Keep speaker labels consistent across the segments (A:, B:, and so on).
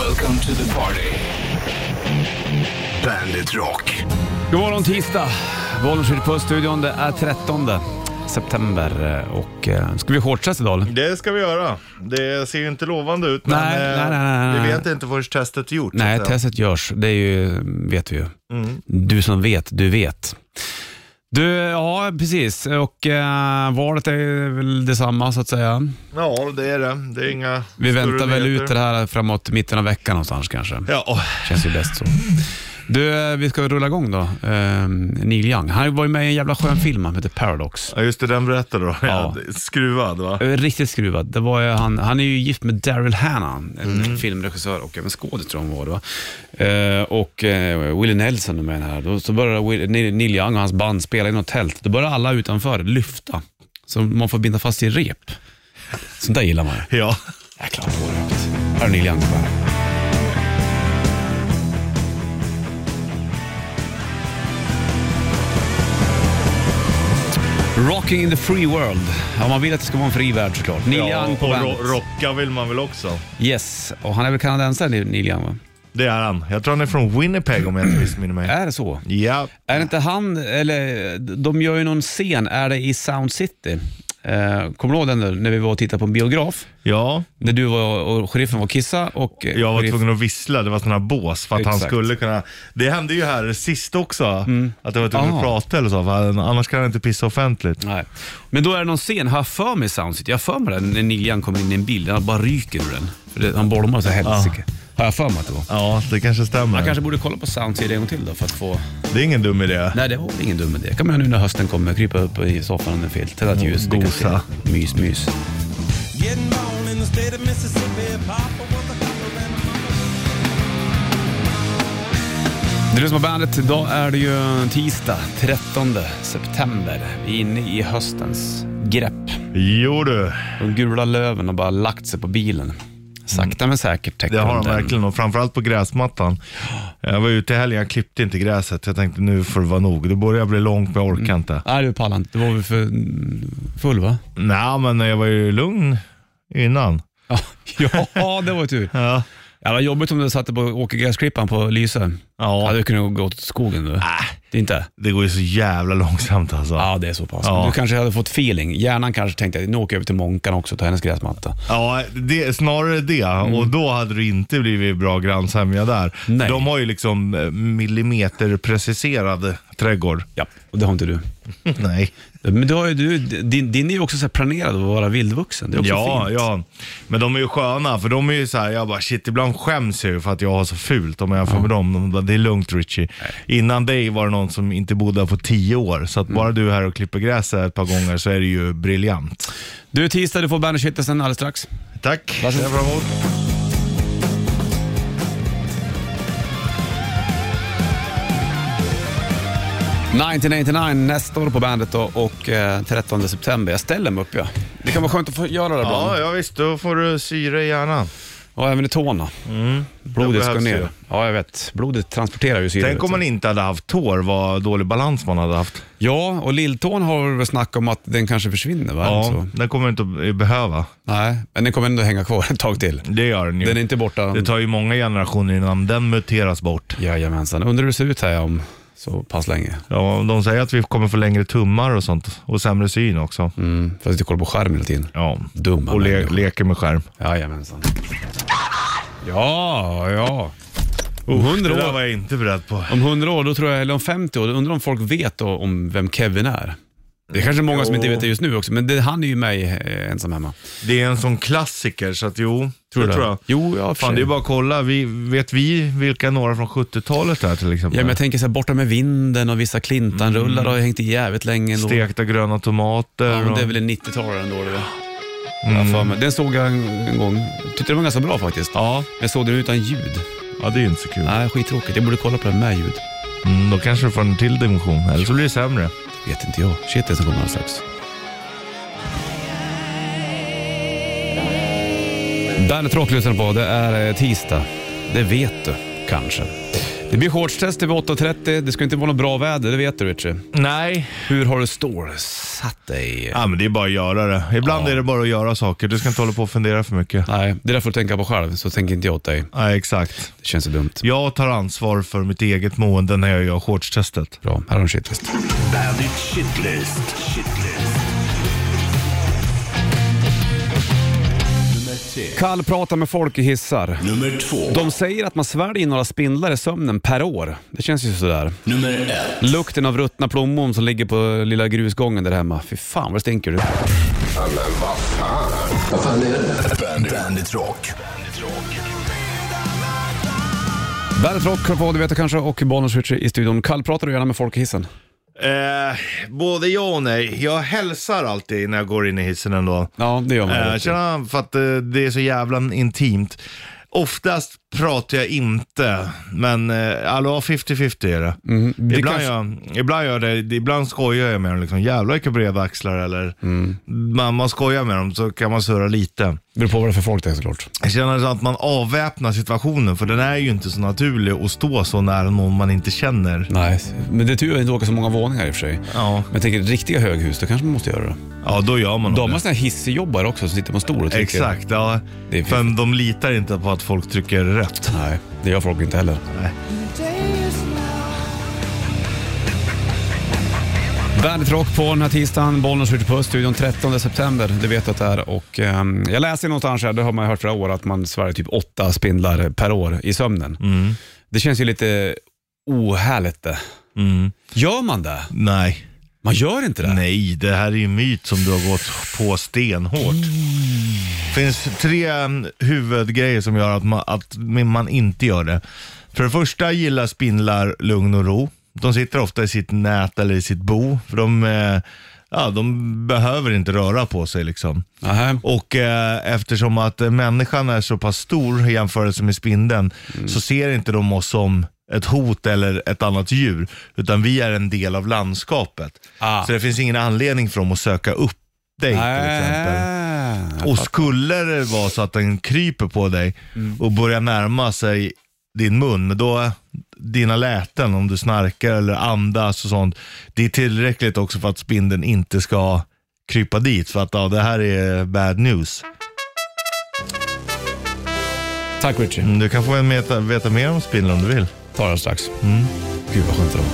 A: Welcome to the party. Bandit Rock.
B: God morgon tisdag. Bollnäs på studion Det är 13 september eh, och eh, ska vi shortsa idag eller?
C: Det ska vi göra. Det ser ju inte lovande ut, men
B: Nej,
C: eh,
B: nej, nej, nej,
C: vi
B: nej.
C: vet inte förrän testet är gjort.
B: Nej,
C: så att säga.
B: testet görs. Det är ju, vet vi ju.
C: Mm.
B: Du som vet, du vet. Du, ja precis. Och eh, valet är väl detsamma så att säga.
C: Ja, det är det. Det är inga
B: Vi
C: större
B: väntar väl
C: nyheter.
B: ut det här framåt mitten av veckan någonstans kanske.
C: Ja,
B: Känns ju bäst så. Du, eh, vi ska rulla igång då. Eh, Neil Young. Han var ju med i en jävla skön film, han heter Paradox.
C: Ja, just det. Den berättade då.
B: Ja.
C: Ja. Skruvad, va?
B: Eh, Riktigt skruvad. Det var ju han, han är ju gift med Daryl Hannah, en filmregissör och även skådis tror jag hon var. Då. Eh, och eh, Willie Nelson är med i den här. Då, så började Will, Neil Neil Young och hans band spela i något tält. Då började alla utanför lyfta, så man får binda fast i rep. Sånt där gillar man ju.
C: Ja.
B: Jäklar vad dåligt. Här är Neil Young på bandet. Rocking in the free world. Ja, man vill att det ska vara en fri värld såklart. Neil
C: ja
B: Young på
C: och
B: bandet.
C: ro- rocka vill man väl också?
B: Yes, och han är väl kanadensare Neil- Neil Young va?
C: Det är han. Jag tror han är från Winnipeg om jag inte missminner mig.
B: Är det så?
C: Ja.
B: Är det inte han, eller de gör ju någon scen, är det i Sound City? Eh, kommer du ihåg den där, när vi var och tittade på en biograf?
C: ja,
B: När du var och sheriffen var och kissa och eh,
C: jag var
B: sheriff-
C: tvungen att vissla. Det var sådana här bås för att han
B: Exakt.
C: skulle kunna... Det hände ju här sist också, att jag var tvungen
B: Ah.
C: att prata eller så, för annars kan han inte pissa offentligt.
B: Nej. Men då är det någon scen, har jag för mig Sound City? Jag har för mig den när Niljan kommer in i en bil, han bara ryker ur den. För det, han bolmar så helsike. Har jag för mig att det var.
C: Ja, det kanske stämmer.
B: Jag kanske borde kolla på Sound City en gång till då för att få...
C: Det är ingen dum idé.
B: Nej, det var väl ingen dum idé. kan man göra nu när hösten kommer, krypa upp i soffan under en filt, tända ett ljus. dricka
C: Gosa.
B: te. Mys, mys.
D: Getting born in the state of Mississippi. Papa was a hustler and mama.
B: Du lyssnar på bandet. Idag är det ju tisdag, 13 september. Vi är inne i höstens grepp.
C: Jo du,
B: De gula löven har bara lagt sig på bilen. Sakta men säkert täcker
C: det har han
B: de den.
C: verkligen och framförallt på gräsmattan. Jag var ute i helgen, jag klippte inte gräset. Jag tänkte nu får det vara nog. Det börjar bli långt men jag orkar inte.
B: Nej, du pallar inte. Du var väl för full va?
C: Nej men jag var ju lugn innan.
B: Ja, ja det var tur.
C: Ja.
B: Ja, vad jobbigt om du satte på åkergräsklippan på Lyse. Ja.
C: Ja. Äh,
B: Hade du kunnat gå åt skogen du. Det är inte?
C: Det går ju så jävla långsamt alltså.
B: Ja, det är så pass.
C: Ja.
B: Du kanske hade fått feeling. Hjärnan kanske tänkte, nu åker jag över till Månkan också och tar hennes gräsmatta.
C: Ja, det, snarare det. Och då hade det inte blivit bra grannsämja där.
B: Mm. Nej.
C: De har ju liksom eh, millimeterpreciserad trädgård.
B: Ja, och det har inte du.
C: Nej.
B: Men du har ju, du, din, din är ju också så här planerad att vara vildvuxen. Det är också
C: Ja,
B: fint.
C: ja. Men de är ju sköna, för de är ju så här, jag bara shit, ibland skäms jag ju för att jag har så fult om jag jämför med dem. De bara, det är lugnt Richie. Innan dig var det någon som inte bodde här på tio år, så att
B: Mm.
C: bara du är här och klipper gräset ett par gånger så är det ju briljant.
B: Du, tisdag, du får bandet sen alldeles strax.
C: Tack.
B: Varsågod.
C: Ser jag fram emot.
B: nästa år på bandet då, och eh, 13 september. Jag ställer mig upp ja. Det kan vara skönt att få göra det ibland.
C: Ja, ja visst, då får du syre i hjärnan.
B: Ja, även i tårna. Blodet ska
C: Mm. behövs
B: ner.
C: ju.
B: Ja, jag vet. Blodet transporterar ju syre.
C: Tänk om
B: vet
C: man
B: du.
C: inte hade haft tår, vad dålig balans man hade haft.
B: Ja, och lilltån har vi väl snack om att den kanske försvinner, va?
C: Ja,
B: Så.
C: den kommer du inte att eh, behöva.
B: Nej, men den kommer ändå hänga kvar ett tag till.
C: Det gör den ju.
B: Den är inte borta.
C: Det tar ju många generationer innan den muteras bort.
B: Jajamensan. Undrar hur det ser ut här om så pass länge.
C: Ja, de säger att vi kommer få längre tummar och sånt. Och sämre syn också.
B: Mm. Fast du kollar på skärmen hela tiden.
C: Ja.
B: Dumma
C: Och le-
B: människor.
C: leker med skärm.
B: Jajamensan. Ja, ja. Om Oh, hundra
C: där
B: år,
C: jag inte beredd på.
B: om 100 år, då tror jag, eller om 50 år, då undrar om folk vet då om vem Kevin är. Det är kanske många som inte vet det just nu också, men det, han är ju med i eh, Ensam Hemma.
C: Det är en sån klassiker, så att jo.
B: Tror du
C: det
B: det?
C: tror jag.
B: Jo, ja, för
C: Fan,
B: sig.
C: det är bara att kolla. Vi, vet vi vilka några från 70-talet är till
B: Ja,
C: exempel?
B: men jag tänker så här, borta med vinden och vissa
C: Mm.
B: Clintan-rullar har ju hängt i jävligt länge. ändå.
C: Stekta gröna tomater.
B: Ja, men
C: och...
B: det är väl en 90-talare ändå. Det mm. för mig. Den såg jag en, en gång. Tyckte den var ganska bra faktiskt.
C: ja.
B: Men Jag såg den utan ljud.
C: ja, det är ju inte så kul.
B: Nej, skittråkigt. Jag borde kolla på den med ljud.
C: Mm, då kanske du får en till dimension. Eller så blir det sämre.
B: Vet inte jag. Shit, den som kommer alldeles strax. Bandet Rock lyssnar på. Det är eh, tisdag. Det vet du kanske. Det blir shortstester vid 8.30. Det ska inte vara något bra väder, det vet du Richie.
C: Nej.
B: Hur har du stålsatt dig?
C: Ja, men det är bara att göra det. Ibland
B: Ja.
C: är det bara att göra saker. Du ska inte hålla på och fundera för mycket.
B: Nej, det där får du tänka på själv, så tänker inte jag åt dig.
C: Nej, exakt.
B: Det känns så dumt.
C: Jag tar ansvar för mitt eget mående när jag gör shortstestet.
B: Bra, här har du en shitlist.
A: Bandit Shitlist. Shitlist. Nummer tre.
B: Kallprata med folk i hissar.
A: Nummer två.
B: De säger att man sväljer några spindlar i sömnen per år. Det känns ju sådär.
A: Nummer ett.
B: Lukten av ruttna plommon som ligger på lilla grusgången där hemma. Fy fan vad det stinker du.
A: Bandit, Bandit Rock.
B: Bandet Rock hör på, du vet det kanske, och Bonus Richie i studion. Kallpratar du gärna med folk i hissen?
C: Eh, både ja och nej. Jag hälsar alltid när jag går in i hissen ändå.
B: Ja, det gör man.
C: Eh,
B: Richie.
C: tjena, för att eh, det är så jävla intimt. Oftast pratar jag inte, men eh, alltså 50-50 är det.
B: Mhm. det
C: ibland,
B: kanske-
C: jag, ibland, gör det, ibland skojar jag med dem, liksom, jävlar vilka breda axlar eller
B: Mm.
C: man, man skojar med dem så kan man surra lite.
B: Beror på vad det är för folk det är såklart.
C: Jag känner så att man avväpnar situationen för den är ju inte så naturlig att stå så nära någon man inte känner.
B: Nej, men det är tur att jag inte åker så många våningar i och för sig.
C: Ja,
B: Men jag tänker riktiga höghus, då kanske man måste göra det.
C: ja då gör man nog
B: De
C: det.
B: har såna här hissjobbare också som sitter på en stol och trycker.
C: Exakt, ja.
B: Det är
C: För de litar inte på att folk trycker rätt.
B: Nej, det gör folk inte heller. Bandet Rock på den här tisdagen, Bollnäs skjuter på studion 13 september. Det vet du att det är. Och, ehm, jag läser någonstans här, det har man ju hört flera år, att man svär typ åtta spindlar per år i sömnen. Det känns ju lite ohärligt det.
C: Mm.
B: Gör man det?
C: Nej.
B: Man gör inte det.
C: Nej, det här är ju en myt som du har gått på stenhårt. Det finns tre mm, huvudgrejer som gör att man, att man inte gör det. För det första gillar spindlar lugn och ro. De sitter ofta i sitt nät eller i sitt bo, för de, eh, ja, de behöver inte röra på sig. liksom.
B: Nähä.
C: Och eh, eftersom att eh, människan är så pass stor i jämförelse med spindeln så ser inte de oss som ett hot eller ett annat djur, utan vi är en del av landskapet.
B: Ah.
C: Så det finns ingen anledning för dem att söka upp dig till exempel.
B: Äh.
C: Och skulle det vara så att den kryper på dig och börjar närma sig din mun, då dina läten, om du snarkar eller andas och sånt, det är tillräckligt också för att spindeln inte ska krypa dit. För att ja, det här är bad news.
B: Tack Richie.
C: Mm, Du kan få veta, veta mer om spindeln om du vill.
B: Tar den strax. Gud vad skönt det var.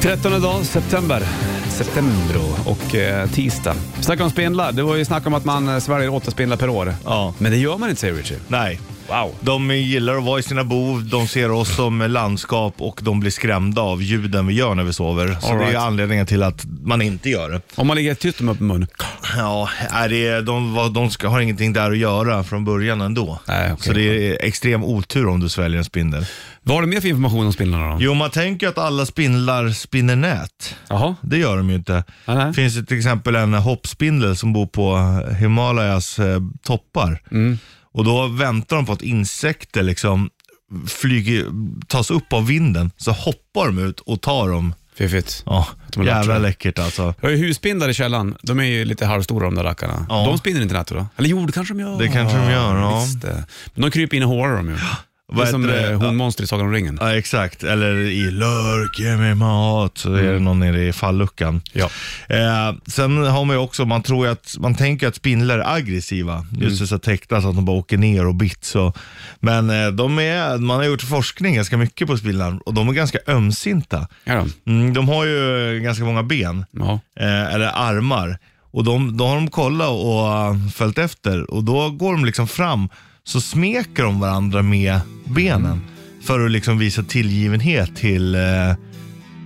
B: 13 dag, september. September och eh, tisdag. Vi snackade om spindlar. Det var ju snack om att man eh, sväljer åtta spindlar per år.
C: Ja.
B: Men det gör man inte säger Richie.
C: Nej.
B: Wow.
C: De gillar att vara i sina bo, de ser oss som landskap och de blir skrämda av ljuden vi gör när vi sover. Så
B: All
C: det är
B: right.
C: anledningen till att man inte gör det.
B: Om man ligger tyst med öppen mun.
C: Ja, är det, de, var- de ska, har ingenting där att göra från början ändå.
B: Nej, okej.
C: Så det är extrem otur om du sväljer en spindel.
B: Vad har du mer för information om spindlarna då?
C: Jo, man tänker ju att alla spindlar spinner nät.
B: Jaha.
C: Det gör de ju inte.
B: Nej, nej.
C: Det finns ju till exempel en hoppspindel som bor på Himalayas eh, toppar.
B: Mm.
C: Och då väntar de på att insekter liksom flyger, tas upp av vinden. Så hoppar de ut och tar dem.
B: Fiffigt.
C: Ja,
B: De har lärt
C: jävla
B: sig.
C: läckert alltså.
B: Jag har ju husspindlar i källaren. De är ju lite halvstora de där rackarna.
C: Ja.
B: De spinner inte nätter då? Eller jo, det kanske de gör.
C: Det kanske de gör, ja.
B: Visst det. Men de kryper in i hårar de ju. Det är
C: Vad
B: som
C: heter det?
B: det? hon monster i Sagan om ringen.
C: Ja, exakt. Eller i lurk, ge mig mat. Så är det någon nere i falluckan.
B: Ja.
C: Eh, sen har man ju också, man tror ju att, man tänker att spindlar är aggressiva. Just det, så täckta så att de bara åker ner och bits. Och, men eh, de är, man har gjort forskning ganska mycket på spindlar och de är ganska ömsinta.
B: Ja, då.
C: Mm, de har ju eh, ganska många ben,
B: ja.
C: eh, eller armar. Och de, då har de kollat och eh, följt efter och då går de liksom fram så smeker de varandra med benen. För att liksom visa tillgivenhet till, eh,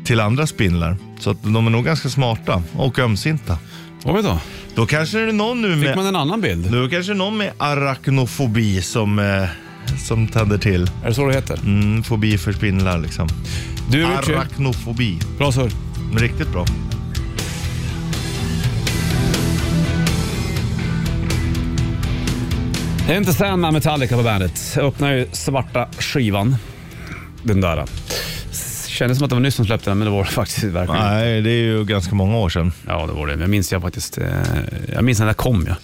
C: till andra spindlar. Så att de är nog ganska smarta och ömsinta.
B: Vad vet du?
C: Då kanske det är någon nu
B: Fick
C: med,
B: man en annan bild?
C: då kanske det är någon med arachnofobi som, eh, som tänder till.
B: Är det så det heter?
C: Mm, fobi för spindlar liksom.
B: Du Richie,
C: Arachnofobi.
B: bra surr.
C: Riktigt bra.
B: Det är inte Sandman Metallica på bandet. Jag öppnar ju svarta skivan. Den där. Kändes som att det var nyss som släppte den, men det var det faktiskt verkligen inte.
C: Nej, det är ju ganska många år sedan.
B: Ja, det var det. Jag minns jag faktiskt. eh, Jag minns när den där kom. Ja.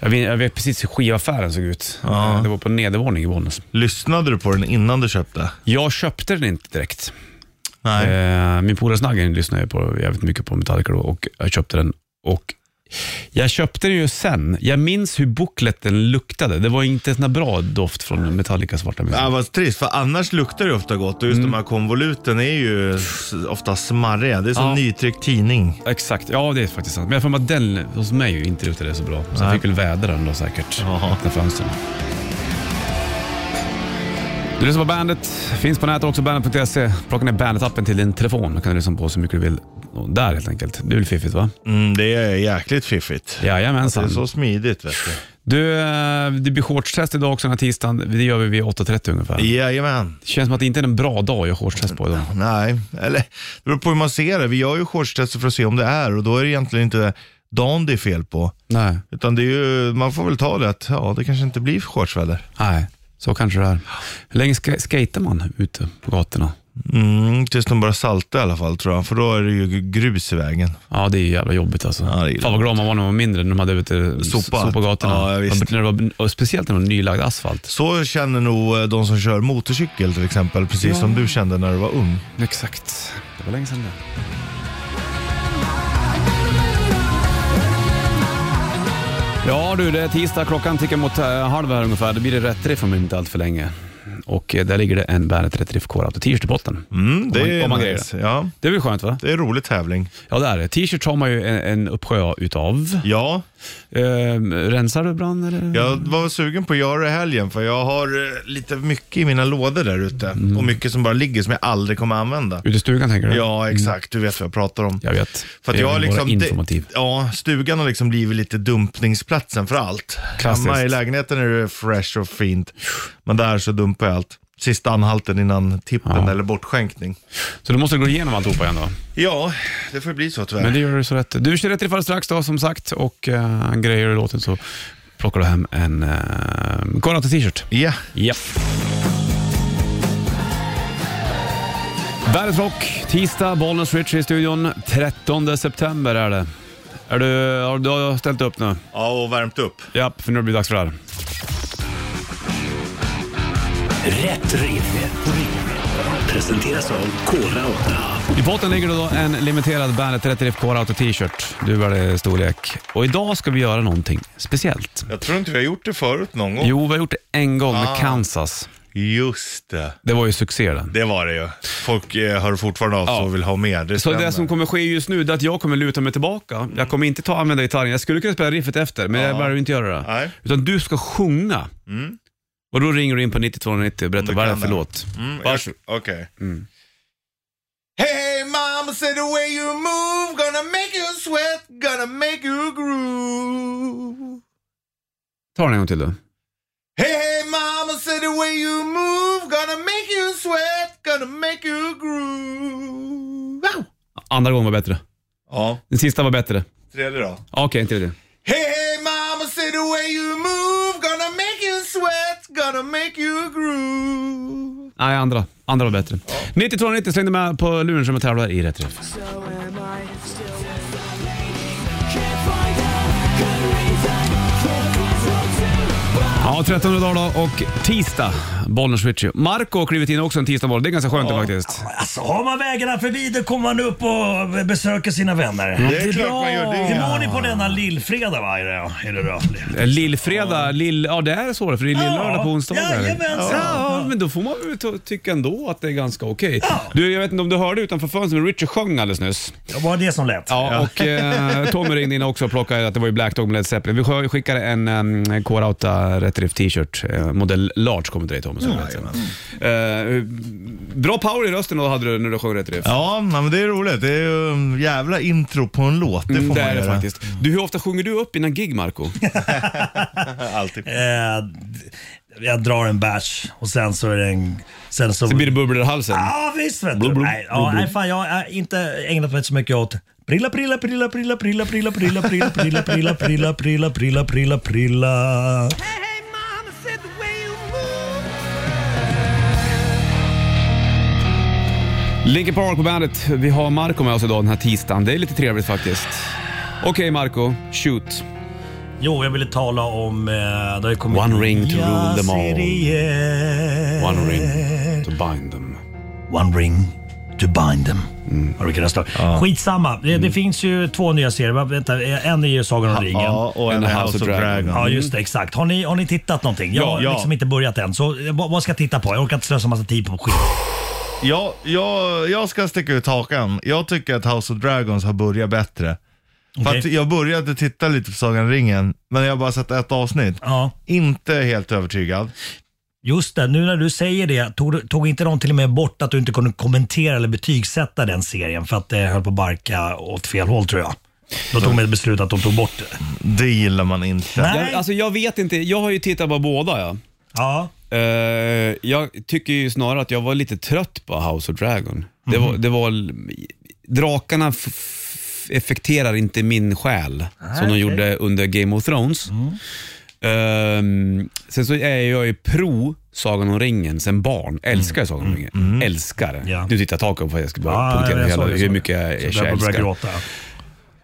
B: Jag vet, jag vet precis hur skivaffären såg ut. Eh, Det var på nedervåningen i Bollnäs.
C: Lyssnade du på den innan du köpte?
B: Jag köpte den inte direkt.
C: Nej.
B: Eh, min polare Snaggen lyssnade jag på jävligt mycket på Metallica då och jag köpte den. Och jag köpte den ju sen. Jag minns hur bukletten luktade. Det var inte en sån här bra doft från Metallicas svarta musik.
C: Ja, vad trist, för annars luktar det ofta gott och just de här konvoluten är ju s- ofta smarriga. Det är som
B: Ja.
C: nytryckt tidning.
B: Exakt, ja det är faktiskt sant. Men jag får att den hos mig ju inte luktade så bra. Så jag
C: Nej.
B: fick väl vädra den då säkert.
C: Jaha.
B: Öppna fönstren. Du lyssnar på Bandet, finns på nätet också, bandet.se. Plocka ner Bandet-appen till din telefon. Då kan du lyssna på så mycket du vill Och där helt enkelt. Det är väl fiffigt va?
C: Mm, det är jäkligt fiffigt. Det är
B: Jajamensan.
C: så smidigt vet du.
B: Du, eh, det blir shortstest idag också den här tisdagen. Det gör vi vid 8.30 ungefär. Det
C: Jajamän.
B: känns som att det inte är en bra dag att göra shortstest på idag.
C: Nej, eller det beror på hur man ser det. Vi gör ju shortstester för att se om det är och då är det egentligen inte dagen det är fel på.
B: Nej.
C: Utan det är ju, man får väl ta det att ja, det kanske inte blir shortsväder.
B: Nej, så kanske det är. Hur länge ska- skater man ute på gatorna?
C: Mm, tills de börjar salta i alla fall tror jag, för då är det ju grus i vägen.
B: Ja, det är ju jävla jobbigt alltså.
C: Ja, det är
B: Fan vad glad man var när man var mindre, när de hade vet, du,
C: Sopat.
B: sop på gatorna.
C: Ja, visst.
B: Man- när det var, och speciellt när det var nylagd asfalt.
C: Så känner nog eh, de som kör motorcykel till exempel, precis som du kände när du var ung.
B: Exakt. Det var länge sedan det. Ja du, det är tisdag. Klockan tickar mot eh, halv här ungefär. Då blir det rätt riff om inte allt för länge. Och eh, där ligger det en Bandet Rätt Riff Core Auto T-shirt i botten.
C: Mm, det
B: Om man-
C: är
B: om man
C: nice. Ja,
B: Det är väl skönt va?
C: det är en rolig tävling.
B: Ja det är det. T-shirt har man ju en, en uppsjö utav.
C: Ja,
B: Ehm, rensar du ibland eller?
C: jag var sugen på att göra det i helgen för jag har eh, lite mycket i mina lådor där ute.
B: Mm.
C: Och mycket som bara ligger som jag aldrig kommer använda.
B: Ute i stugan tänker du?
C: Ja, exakt. Du vet vad jag pratar om.
B: Jag vet.
C: För att
B: Det är
C: jag har
B: väl bara
C: liksom,
B: informativ.
C: Det, ja, stugan har liksom blivit lite dumpningsplatsen för allt.
B: Klassiskt.
C: Hemma i lägenheten är det fresh och fint, men där så dumpar jag allt. Sista anhalten innan tippen
B: Ja.
C: eller bortskänkning.
B: Så du måste gå igenom alltihopa igen då.
C: Ja, det får bli så tyvärr.
B: Men det gör du så rätt. Du kör rätt i fall strax då som sagt och uh, grejer du låten så plockar du hem en uh, Coronata t-shirt.
C: Ja,
B: Ja. Världens Rock, tisdag, Bollnäs Rich i studion. 13 september är det. Är du, har du har ställt upp nu?
C: ja och värmt upp.
B: Ja, för nu blir det dags för det här.
A: Rätt riff. Presenteras av Kora 8.
B: I potten ligger det då en limiterad Bandet 30 FK Auto t-shirt. Du väljer storlek. Och idag ska vi göra någonting speciellt.
C: Jag tror inte vi har gjort det förut någon gång.
B: Jo, vi har gjort det en gång med
C: Ah.
B: Kansas.
C: Just det.
B: Det var ju succé den.
C: Det var det ju. Folk eh, hör fortfarande av sig
B: Ja.
C: och vill ha mer. Det
B: Så
C: stämmer. Mm.
B: det som kommer ske just nu det är att jag kommer luta mig tillbaka. Jag kommer inte ta använda gitarren. Jag skulle kunna spela riffet efter, men jag väljer inte göra det.
C: Ah. Nej. Mm,
B: Utan du ska sjunga. Och då ringer du in på 9290 och berättar
C: Om du
B: vad det är
C: kan
B: för
C: det.
B: låt.
C: Mm, jag-
B: Varsågod. Mm.
C: Okej. Hey, hey mama, say the way you move Gonna make you sweat, gonna make you groove
B: Ta den en gång till då.
C: Hey, hey mama, say the way you move Gonna make you sweat, gonna make you groove Wow!
B: Andra gången var bättre.
C: Ja,
B: Den sista var bättre.
C: tredje då.
B: Okej, inte det.
C: Hey, hey mama, say the way you move Gonna make you sweat, gonna make you groove
B: Nej, andra. Andra var bättre. 9290 släng dig med på luren som jag tävlar i Rätt Riff.
E: So am I still
B: Ja, 13 dagar då och tisdag, Bollnäs Ritchie. Marco har klivit in också en tisdagmorgon. Det är ganska skönt det faktiskt.
F: Alltså, har man vägarna förbi då kommer man upp och besöker sina vänner. Det
C: är klart man gör Mm. det.
F: Hur mår ni på denna lillfredag? Va? Är det, är det då?
B: Lillfredag, lill, ja det är så för det är lillördag på onsdagar.
F: Jajamensan.
B: Ja, men då får man väl ta- tycka ändå att det är ganska okej. Du, jag vet inte om du hörde utanför fönstret, men Richard sjöng alldeles nyss.
F: Det var det som lät.
B: Ja, och eh, Tommy ringde in också och plockade att det var ju Black Dog med Led Zeppelin. Vi sk- skickade en um, Core Outa Rätt Riff t-shirt, eh, modell large kommer till dig Tommy. som vet sen. Eh, bra power i rösten då hade du när du sjöng Rätt Riff.
C: Ja, nej, men det är roligt. Det är ju en jävla intro på en låt. Det får
B: Mm,
C: man
B: det är det
C: göra.
B: faktiskt. Du, hur ofta sjunger du upp innan gig, Marco?
C: Alltid.
F: Eh, jag drar en batch och sen så är det en... Sen så...
B: Sen blir det bubblor i halsen.
C: Ah.
F: Ja visst vet du.
B: Blub, blub,
F: nej, ja,
B: blub, blub.
F: nej, fan, jag har inte ägnat mig så mycket åt prilla, prilla, prilla, prilla, prilla, prilla, prilla, prilla, prilla, prilla, prilla, prilla, prilla, prilla, prilla.
B: Linkin Park på bandet. Vi har Marco med oss idag den här tisdagen. Det är lite trevligt faktiskt. Okej Marco, shoot.
F: Jo, jag ville tala om... Eh, det har ju kommit...
B: One ring to rule them all.
F: Jag ser igen.
B: One ring to bind them.
F: One ring to bind them.
B: Mm.
F: Har du kunnat stå? Skitsamma. Det, det finns ju två nya serier. Va, Vänta, eh, en är ju Sagan om ringen.
C: Ja, och en House of Dragon.
B: Mm.
F: Ja, just det. Exakt. Har ni, har ni tittat någonting? Jag
C: Ja,
F: har
C: ja.
F: liksom inte börjat än. Så eh, vad, vad ska jag titta på? Jag orkar inte slösa massa tid på skit.
C: Ja, jag, jag ska sticka ut hakan. Jag tycker att House of Dragons har börjat bättre. För
F: Okej.
C: att jag började titta lite på Sagan om ringen, men jag har bara sett ett avsnitt.
F: Ja.
C: Inte helt övertygad.
F: Just det, nu när du säger det, tog, tog inte de till och med bort att du inte kunde kommentera eller betygsätta den serien för att det höll på att barka åt fel håll tror jag. Då tog de ett beslut att de tog bort det.
C: Det gillar man inte.
F: Nej.
B: Jag, alltså jag vet inte, jag har ju tittat på båda ja.
F: Ja,
B: Eh, jag tycker ju snarare att jag var lite trött på House of Dragon. Det var,
F: Mhm.
B: det var, drakarna f- f- effekterar inte min själ som de gjorde under Game of Thrones.
F: Mm.
B: Ehm, sen så är jag ju pro Sagan om ringen sen barn. Älskar mm. Sagan om ringen. Älskar det.
F: Ja.
B: Nu tittar jag taket för att jag ska bara
F: ja
B: punktera
F: jag
B: hela,
F: såg det,
B: hur
F: såg
B: mycket jag,
F: det. Så
B: jag
F: jag började
B: älskar.
F: gråta.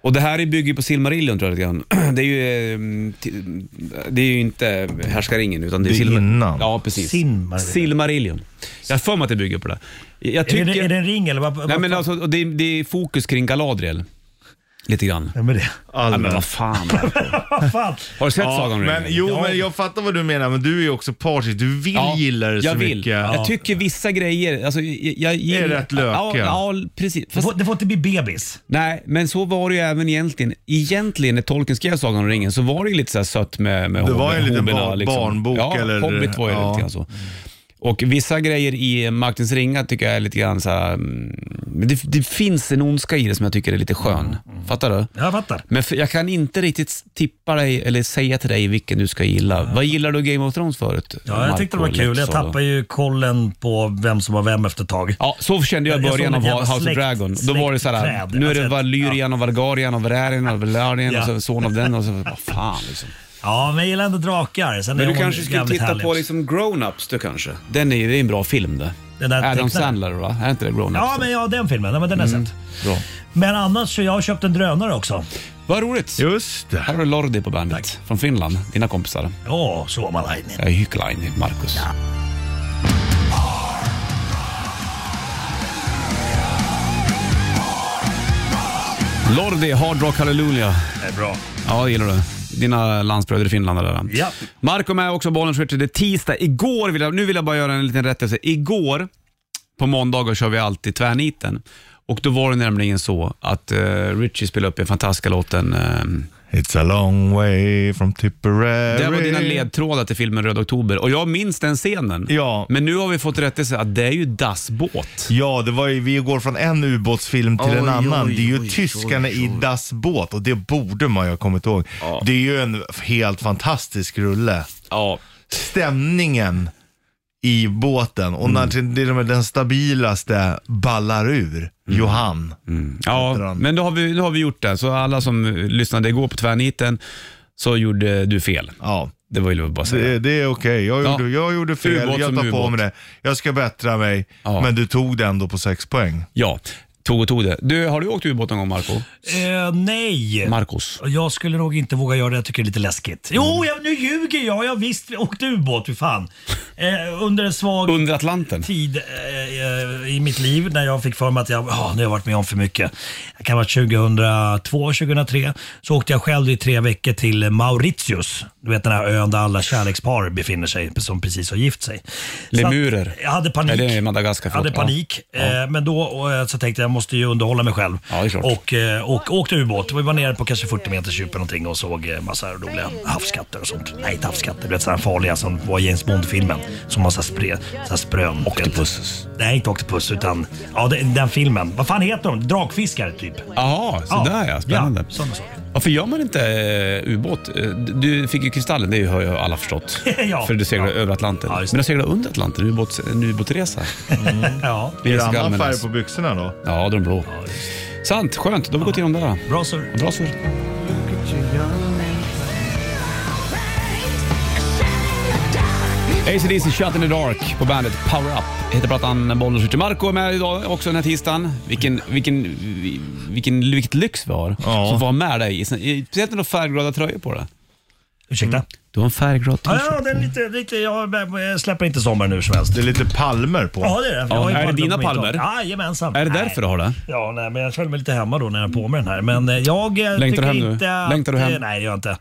B: Och det här bygger ju på Silmarillion tror jag lite grann. Det är ju, eh, ti- det är ju inte Härskaringen utan det är
C: Det är
B: Silma-
C: innan.
B: Ja, precis.
F: Silmarillion.
B: Silmarillion. Jag har för mig att det bygger på det. Jag
F: Är,
B: tycker...
F: det, är det en ring eller vad? vad
B: Nej men alltså, och det, är, det är fokus kring Galadriel. Lite grann.
F: Vem är det?
B: Ja, men
C: Allmänt.
B: vad fan.
F: Vad fan?
B: Har du sett Sagan
C: Ja,
B: om
C: men,
B: ringen?
C: jo, men jag fattar vad du menar, men du är ju också partisk. Du vill
B: Ja,
C: gilla det så
B: jag vill.
C: mycket.
B: Jag tycker vissa grejer, alltså, jag, jag
C: Det
B: gillar...
C: är rätt lökiga.
B: Ja, ja precis.
F: Det
B: Fast,
F: får, det får inte bli bebis.
B: nej, men så var det ju även egentligen. Egentligen när Tolkien skrev Sagan om ringen så var det ju lite så här sött med, med
C: Det var ju en liten
B: hobbyerna,
C: bar- barnbok
B: liksom- Ja,
C: eller-
B: Hobbit var ju
C: ja.
B: lite grann så. Och vissa grejer i Maktens ringar tycker jag är lite grann så här, mm, men det, det finns en ondska i det som jag tycker är lite skön. Fattar du?
F: Jag fattar.
B: Men för, jag kan inte riktigt tippa dig eller säga till dig vilken du ska gilla. Vad gillar du Game of Thrones förut?
F: Ja, jag tyckte det var
B: Marco
F: kul. Jag
B: Letzau?
F: tappade ju kollen på vem som var vem efter ett tag.
B: alltså. Ja, så kände jag i
F: Jag- jag
B: början
F: såg
B: av
F: ett jävla
B: House of
F: släkt-
B: Dragon. Då var det såhär,
F: släktträd.
B: nu är det
F: Alltså,
B: Valyrian och Valgarian och Verärin och Velarien och
F: Ja.
B: så son av den och så, vad fan liksom.
F: Ja, men jag gillar ändå drakar. Sen är
B: Men du
F: hon
B: kanske skulle
F: jävligt
B: titta
F: härlig
B: på
F: också.
B: liksom Grown-Ups du kanske? Den är ju, det är en bra film det.
F: Den där
B: Adam
F: tecknaren.
B: Sandler va? Är inte det Grown-Ups?
F: Ja, men ja, den filmen. Den, den har jag sett.
C: Bra.
F: Men annars, så jag har köpt en drönare också.
B: Vad roligt.
C: Just det.
B: Här har du Lordi på bandet från Finland, dina kompisar.
F: Ja, Suomalainen.
B: Jag är Hyckline, Marcus. Lordi, Hard Rock Hallelujah.
F: Det är bra.
B: Ja, det gillar du. Dina landsbröder i Finland eller?
F: Ja.
B: Marco med också, Bollens Det är tisdag. Igår, vill jag, nu vill jag bara göra en liten rättelse. Igår på måndagar kör vi alltid tvärniten. Och då var det nämligen så att eh, Richie spelade upp en fantastiska låten. ehm,
C: It's a long way from Tipperary.
B: det var dina ledtrådar till filmen Röd Oktober och jag minns den scenen.
C: Ja.
B: Men nu har vi fått rättelse att det är ju Das Båt.
C: Ja, det var ju, vi går från en ubåtsfilm till en
A: Oj,
C: annan.
A: oj,
C: det är ju
A: oj,
C: tyskarna
A: oj,
C: i Das Båt och det borde man ju ha kommit ihåg. Det är ju en helt fantastisk rulle.
B: Ja.
C: Stämningen i båten och när till- till och med den stabilaste ballar ur, Johan. Heter
B: ja
C: han.
B: men då har, vi, då har vi gjort det. Så alla som eh, lyssnade igår på tvärniten så gjorde du fel.
C: Ja.
B: Det var ju bara att säga.
C: Det, det är okej. Jag,
B: Ja.
C: gjorde, jag gjorde fel.
B: Ubåt
C: jag
B: som
C: tar på
B: ubåt.
C: mig det. Jag ska bättra mig.
B: Ja.
C: Men du tog det ändå på sex poäng.
B: Ja, tog och tog det. Du, har du åkt ubåt någon gång Marco?
F: Eh, nej.
B: Marcos.
F: jag skulle nog inte våga göra det. Jag tycker det är lite läskigt. Jo, jag, nu ljuger jag. Jag visst vi åkte ubåt, hur fan. Eh, under en svag
B: Under Atlanten.
F: tid eh, eh, i mitt liv när jag fick för mig att jag, ja, nu har jag varit med om för mycket. Det kan ha varit 2002, 2003. Så åkte jag själv i tre veckor till Mauritius. Du vet den här ön där alla kärlekspar befinner sig som precis har gift sig. Så att
B: Lemurer.
F: Jag hade panik.
B: Eller Madagaskar,
F: jag hade
B: förlåt. Ja.
F: panik. Eh, men då eh, så tänkte jag, jag måste ju underhålla mig själv.
B: Ja, det är klart.
F: och, eh, och åkte ubåt. Vi var nere på kanske 40 meters djup eller någonting och såg eh, massa roliga havskatter och sånt. Nej, inte havskatter. Du vet sådana farliga som var i James Bond-filmen. Som har så här spre- så här sprön. Octopus. Nej, inte Octopus utan ja, den, den filmen. Vad fan heter de? Drakfiskare typ.
B: Jaha, sådär ja. Spännande.
F: Ja, sådana saker.
B: Varför gör man inte eh, ubåt? Eh, Du fick ju Kristallen, det har ju alla förstått.
F: Ja.
B: För du seglade
F: Ja.
B: över Atlanten.
F: Ja,
B: Men
F: just det.
B: du seglade under Atlanten, en ubåts, en ubåtsresa.
F: Ja,
B: Det alltså.
C: Är det
B: så
C: annan
B: allmänna.
C: färg på byxorna då?
B: Ja, de blå. Sant, skönt. Då har vi gått igenom det. här.
F: bra surr.
B: Bra surr. ACDC Shut in the Dark på bandet Power Up. Heter plattan Bollnäs Richard Marco är med idag också den här tisdagen. Vilken, vilken, vilken, vilket lyx vi har
C: Ja.
B: som får ha med dig. i sin- i- Speciellt när du har färgglada tröjor på dig.
F: Ursäkta?
B: Du har en färgglad
F: Ja,
B: t-shirt.
F: ja, den är lite, lite, jag jag släpper inte sommaren nu som helst.
C: Det är lite palmer på.
F: Ja, det är det. Jag
B: Ja,
F: har ju
B: är det
F: palmer
B: dina
F: på min
B: palmer?
F: dag. Jajamensan.
B: Är det
F: Nej.
B: därför du har det?
F: Ja, nej, men jag känner mig lite hemma då när jag är på med den här. Men eh, jag eh,
B: Längtar du
F: tycker
B: hem nu?
F: inte att...
B: Längtar du hem?
F: eh, Nej, det gör jag inte.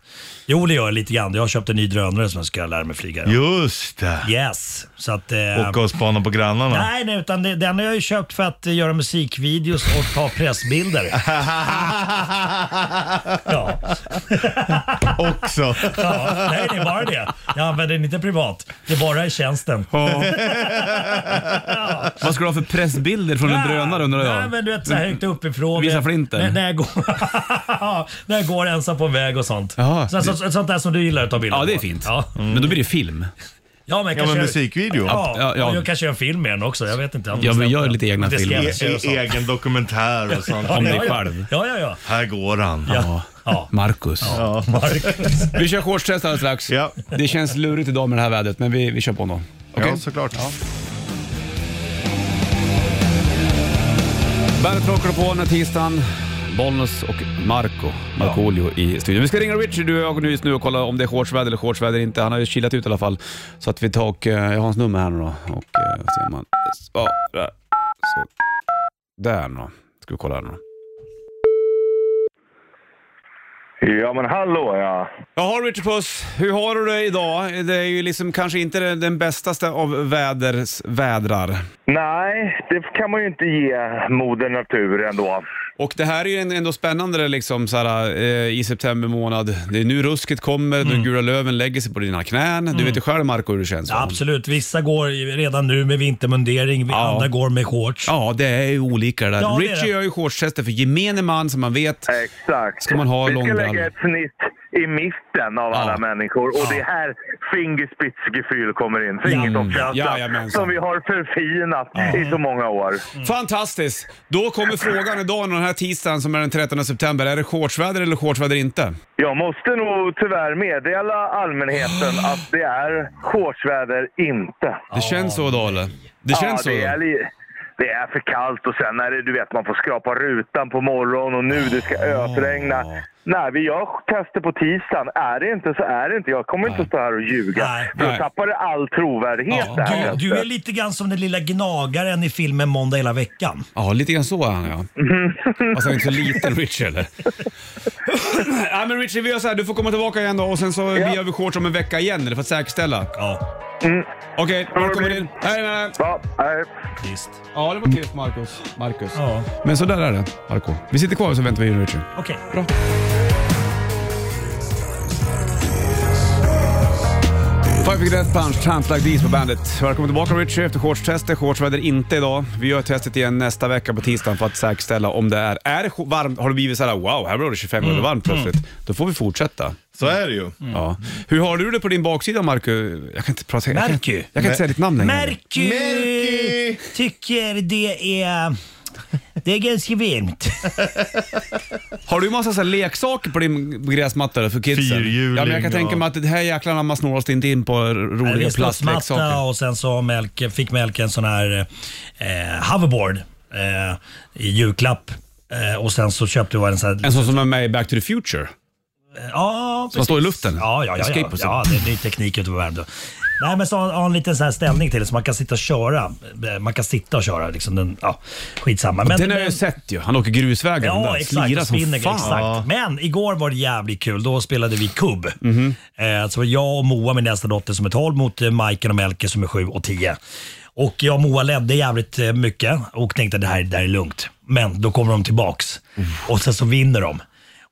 F: Jo, det gör jag lite grann. Jag har köpt en ny drönare som jag ska lära mig flyga.
C: Just det.
F: Yes. Så att... eh,
C: Åka och spana på grannarna.
F: Nej, nej, utan det, den har jag ju köpt för att eh, göra musikvideos och ta pressbilder. Ja.
C: Också.
F: ja, nej, det är bara det. Jag använder den inte privat. Det är bara i tjänsten.
B: Vad ska du ha för pressbilder från en drönare undrar
F: Nej,
B: jag?
F: men du vet så här högt uppifrån.
B: Visa flinten.
F: När, när, jag går, Ja, när jag går ensam på en väg och sånt.
B: Jaha.
F: så, så, så, sånt där som du gillar att ta bilder
B: Ja, det är
F: på.
B: fint. Mm.
F: Ja,
B: Men då blir det film.
F: ja men,
C: Ja,
F: kanske,
C: men musikvideo.
F: Ja,
B: Ja, ja.
F: och jag kanske gör en film med den också. Jag vet inte.
B: Ja, men gör lite egna filmer.
C: E- e- egen dokumentär och sånt.
B: Om dig
F: ja,
B: själv.
F: Ja, ja, ja.
C: Här går han.
F: ja. ja.
B: Marcus.
F: ja. Marcus.
B: Vi kör shortstest alldeles strax.
C: Ja.
B: Det känns lurigt idag med det här vädret, men vi, vi kör på ändå. Okej?
C: Ja, såklart.
B: Bandet rockar på den här tisdagen. Bollnäs och Marco Markoolio i studion. Vi ska ringa Richard du och jag nu just nu och kolla om det är shortsväder eller shortsväder inte. Han har ju kilat ut i alla fall. Så att vi tar och, eh, jag har hans nummer här nu då. Och eh, ser om han... Så, där. Så. Där nu då. Ska vi kolla här nu då.
G: Ja, men hallå ja.
B: Jaha Richard Puss, hur har du det idag? Det är ju liksom kanske inte den, den bästaste av väders vädrar.
G: Nej, det kan man ju inte ge moder natur ändå.
B: Och det här är ju en- ändå spännande liksom, så här, eh, i september månad. Det är nu rusket kommer,
F: Mm.
B: de gula löven lägger sig på dina knän. Du vet ju själv Marco hur det känns. va?
F: Ja, Mm. absolut. Vissa går ju redan nu med vintermundering,
B: Ja.
F: andra går med shorts.
B: Ja, det är ju olika det där.
F: Ja, det är
B: Richie
F: det.
B: gör ju shortstester för gemene man som man vet.
G: Exakt.
B: Ska man ha
G: Vi ska
B: långbrallor?
G: lägga ett snitt i mitten av alla människor och det är här fingerspitzgefühl kommer in. Fingertoppskänslan
B: Jajamensan.
G: som vi har förfinat i så många år.
F: Mm.
B: Fantastiskt! Då kommer frågan idag, den här tisdagen som är den 13 september. Är det shortsväder eller shortsväder inte?
G: Jag måste nog tyvärr meddela allmänheten att det är shortsväder inte.
B: Det känns så idag eller? Det känns så?
G: ja, det är, li- det är för kallt och sen är det, du vet, man får skrapa rutan på morgonen och nu det ska ösregna. Nej, vi gör tester på tisdagen. Är det inte så är det inte. Jag kommer inte stå här och ljuga.
F: Nej.
G: Då
B: Nej.
G: tappar det all trovärdighet
B: Ja.
G: det här
F: Du,
G: testet.
F: du är lite grann som den lilla gnagaren i filmen Måndag hela veckan.
B: Ja, lite grann så är han ja. Fast han är inte så liten Richie eller? ja, men Richie, vi gör så här. Du får komma tillbaka igen då och sen så vi gör vi shorts om en vecka igen eller för att säkerställa.
F: Ja,
B: Okej, Marco kommer in. Hej med dig.
G: Ja, nej.
F: visst.
B: Ja, det var kul för Marcus. Marcus.
F: Ja.
B: Men så där är det, Marco. Vi sitter kvar och så väntar vi in Richie.
F: Okej.
B: Five Finger Death Punch, Chance Like These på bandet. Välkommen tillbaka Richie efter shortstestet. Shortsväder inte idag. Vi gör testet igen nästa vecka på tisdagen för att säkerställa om det är... Är det sjo- varmt? Har det blivit så här wow, här blev det 25
F: Mm,
B: grader varmt plötsligt. Då får vi fortsätta.
C: Så är det ju.
B: Ja. Hur har du det på din baksida Marco? Jag kan inte prata... Jag kan, jag
F: Merky.
B: kan inte säga ditt namn längre.
F: Merky
C: Merky!
F: tycker det är... Det är ganska varmt.
B: Har du massa så här leksaker på din gräsmatta där för kidsen?
C: Fyrhjuling
B: Ja, men jag kan tänka
C: och-
B: mig att det här jäklarna man snålar sig inte in på
F: Det
B: r- roliga
F: är studsmatta
B: plastleksaker.
F: och sen så har Melke, fick Melke en sån här eh, hoverboard eh, i julklapp. Eh, och sen så köpte jag en sån här... eh,
B: En sån som är med i Back to the Future.
F: Ja,
B: Som står i luften?
F: Ja, ja, ja, ja,
B: Escape och så.
F: ja det är ny teknik ute på Värmdö. Nej, men så har han en liten sån här ställning till så man kan sitta och köra. Eh, Man kan sitta och köra. Liksom den, ja, skitsamma. Men,
B: Den har
F: men,
B: jag ju sett ju. Han åker grusvägar den
F: Ja,
B: där.
F: exakt.
B: Slirar
F: och
B: som
F: Spinner,
B: fan.
F: exakt. Men igår var det jävligt kul. Då spelade vi kubb.
B: Mhm.
F: Eh, så var jag och Moa, min äldsta dotter som är 12, mot eh, Majken och Melke som är 7 och 10. Och jag och Moa ledde jävligt eh, mycket och tänkte att det här, det här är lugnt. Men då kommer de tillbaks och sen så vinner de.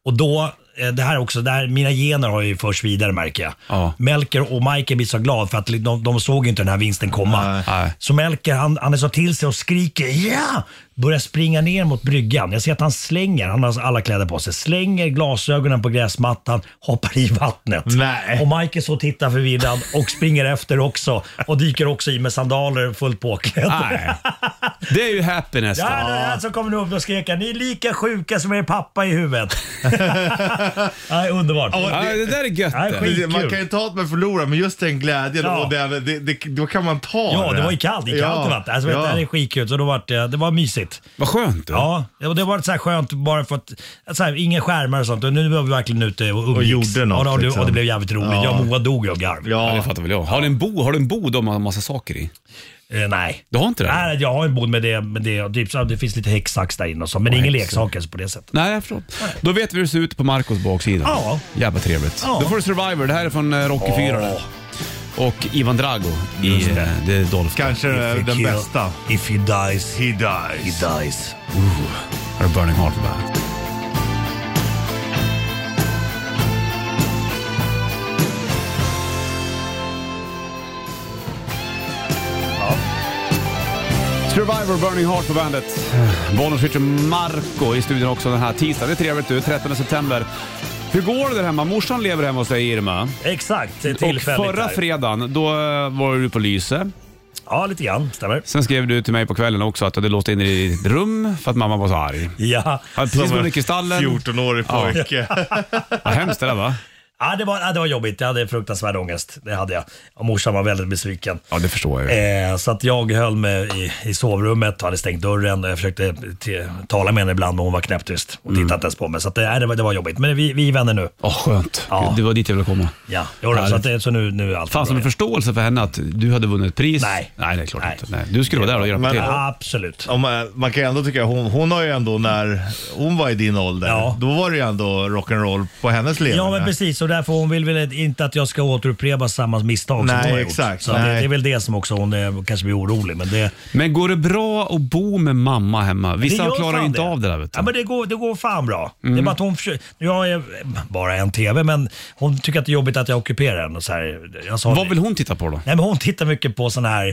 F: Och då, eh, det här också, det här, mina gener har ju förts vidare märker jag.
B: Ja.
F: Melker och Majken blir så glad för att de, de såg ju inte den här vinsten komma.
B: Nej.
F: Så Melker han, han är så till sig och skriker ja! Börjar springa ner mot bryggan. Jag ser att han slänger, han har alla kläder på sig, slänger glasögonen på gräsmattan, hoppar i vattnet.
C: Nej.
F: Och Mike är så tittar förvirrad och springer efter också och dyker också i med sandaler fullt påklädd.
B: Nej. Det är ju happiness.
F: Ja,
B: då.
F: ja. Så kommer du upp och skrek ni är lika sjuka som er pappa i huvudet. Nej, underbart.
B: Ja, det där är gött.
F: Nej,
B: det.
F: skit.
C: Man kan ju ta att man förlorar, men just den glädjen
F: Ja.
C: och den, det, det, då kan man ta
F: Ja,
C: det.
F: Alltså, det var ju kallt. Det är kallt i vatten. Alltså, vet du, Det här är skitkul. Så då var det, det var mysigt. härligt.
B: Vad skönt. du.
F: Ja, ja, och det var så här skönt bara för att, att så här, inga skärmar och sånt. Och nu var vi verkligen ute och umgicks.
C: gjorde något,
F: Ja, och, det,
C: liksom.
F: och det blev jävligt roligt.
C: Ja.
F: Jag och Moa dog ju av garv.
B: Ja,
C: Ja,
B: det fattar väl jag. Har du en bod har du en bod om en massa saker i?
F: Eh, nej.
B: Du har inte det?
F: Nej, jag har en bod med det. Med det, typ, så här, det finns lite häcksax där inne och så, men ingen leksaker på det sättet.
B: Nej, förlåt. Då vet vi hur det ser ut på Marcos baksida.
F: Ja.
B: Jävla trevligt.
F: Ja.
B: Då får du Survivor. Det här är från eh, Rocky 4. där. Och Ivan Drago i eh, The Dolph.
C: Kanske
F: If
C: den
F: you-
C: bästa.
F: If he dies,
C: He dies.
F: he dies.
B: Här är Burning Heart på bandet. Survivor Burning Heart på bandet. Bonus feature Marco i studion också den här tisdagen. Det är trevligt du, 13 september. Hur går det där hemma? Morsan lever hemma hos dig Irma.
F: Exakt, det är
B: Och
F: tillfälligt.
B: förra
F: där.
B: fredagen, då eh, var du på Lyse.
F: Ja, lite grann. Stämmer.
B: Sen skrev du till mig på kvällen också att du hade låst in dig i ditt rum för att mamma var så arg.
F: Ja.
B: Ja, precis
C: Som en
B: under kristallen.
C: 14-årig
B: Ja.
C: pojke.
B: Vad hemskt det där va?
F: Ja, det, var, ja, det var jobbigt. Jag hade fruktansvärd ångest. Det hade jag. Och morsan var väldigt besviken.
B: Ja, det förstår jag ju.
F: Eh, så att jag höll mig i, i sovrummet och hade stängt dörren. Och jag försökte te- tala med henne ibland, men hon var knäpptyst och
B: Mm.
F: tittade inte ens på mig. Så att, eh, det, var- det var jobbigt. Men vi, vi är vänner nu.
B: Åh, skönt.
F: Ja.
B: Det var dit jag ville komma.
F: Ja, jo, då, så, att, det- så nu, nu är allt
B: Fanns det
F: bra
B: någon förståelse för henne att du hade vunnit ett pris?
F: Nej.
B: Nej, det är klart
F: Nej.
B: inte. Nej. Du skulle vara där och hjälpa
C: Men-
B: till.
F: igen. Absolut.
C: Ja, men man kan ju ändå tycka, hon, hon har ju ändå när hon var i din ålder,
F: Ja.
C: då var det ju ändå rock'n'roll på hennes leverne.
F: Ja men precis och därför hon vill väl inte att jag ska återupprepa samma misstag
C: Nej,
F: som hon har gjort.
C: exakt.
F: Så det,
C: Nej.
F: det är väl det som också hon eh, kanske blir orolig. Men det,
B: Men går det bra att bo med mamma hemma?
F: Det
B: Vissa
F: gör
B: klarar
F: fan
B: inte av det där vet du. Mm.
F: Ja, men det, går, det går fan bra. Det är bara att hon försöker, Nu har jag bara en TV, men hon tycker att det är jobbigt att jag ockuperar den. Och så här, jag sa,
B: Vad vill hon titta på då?
F: Nej, men hon tittar mycket på sådana här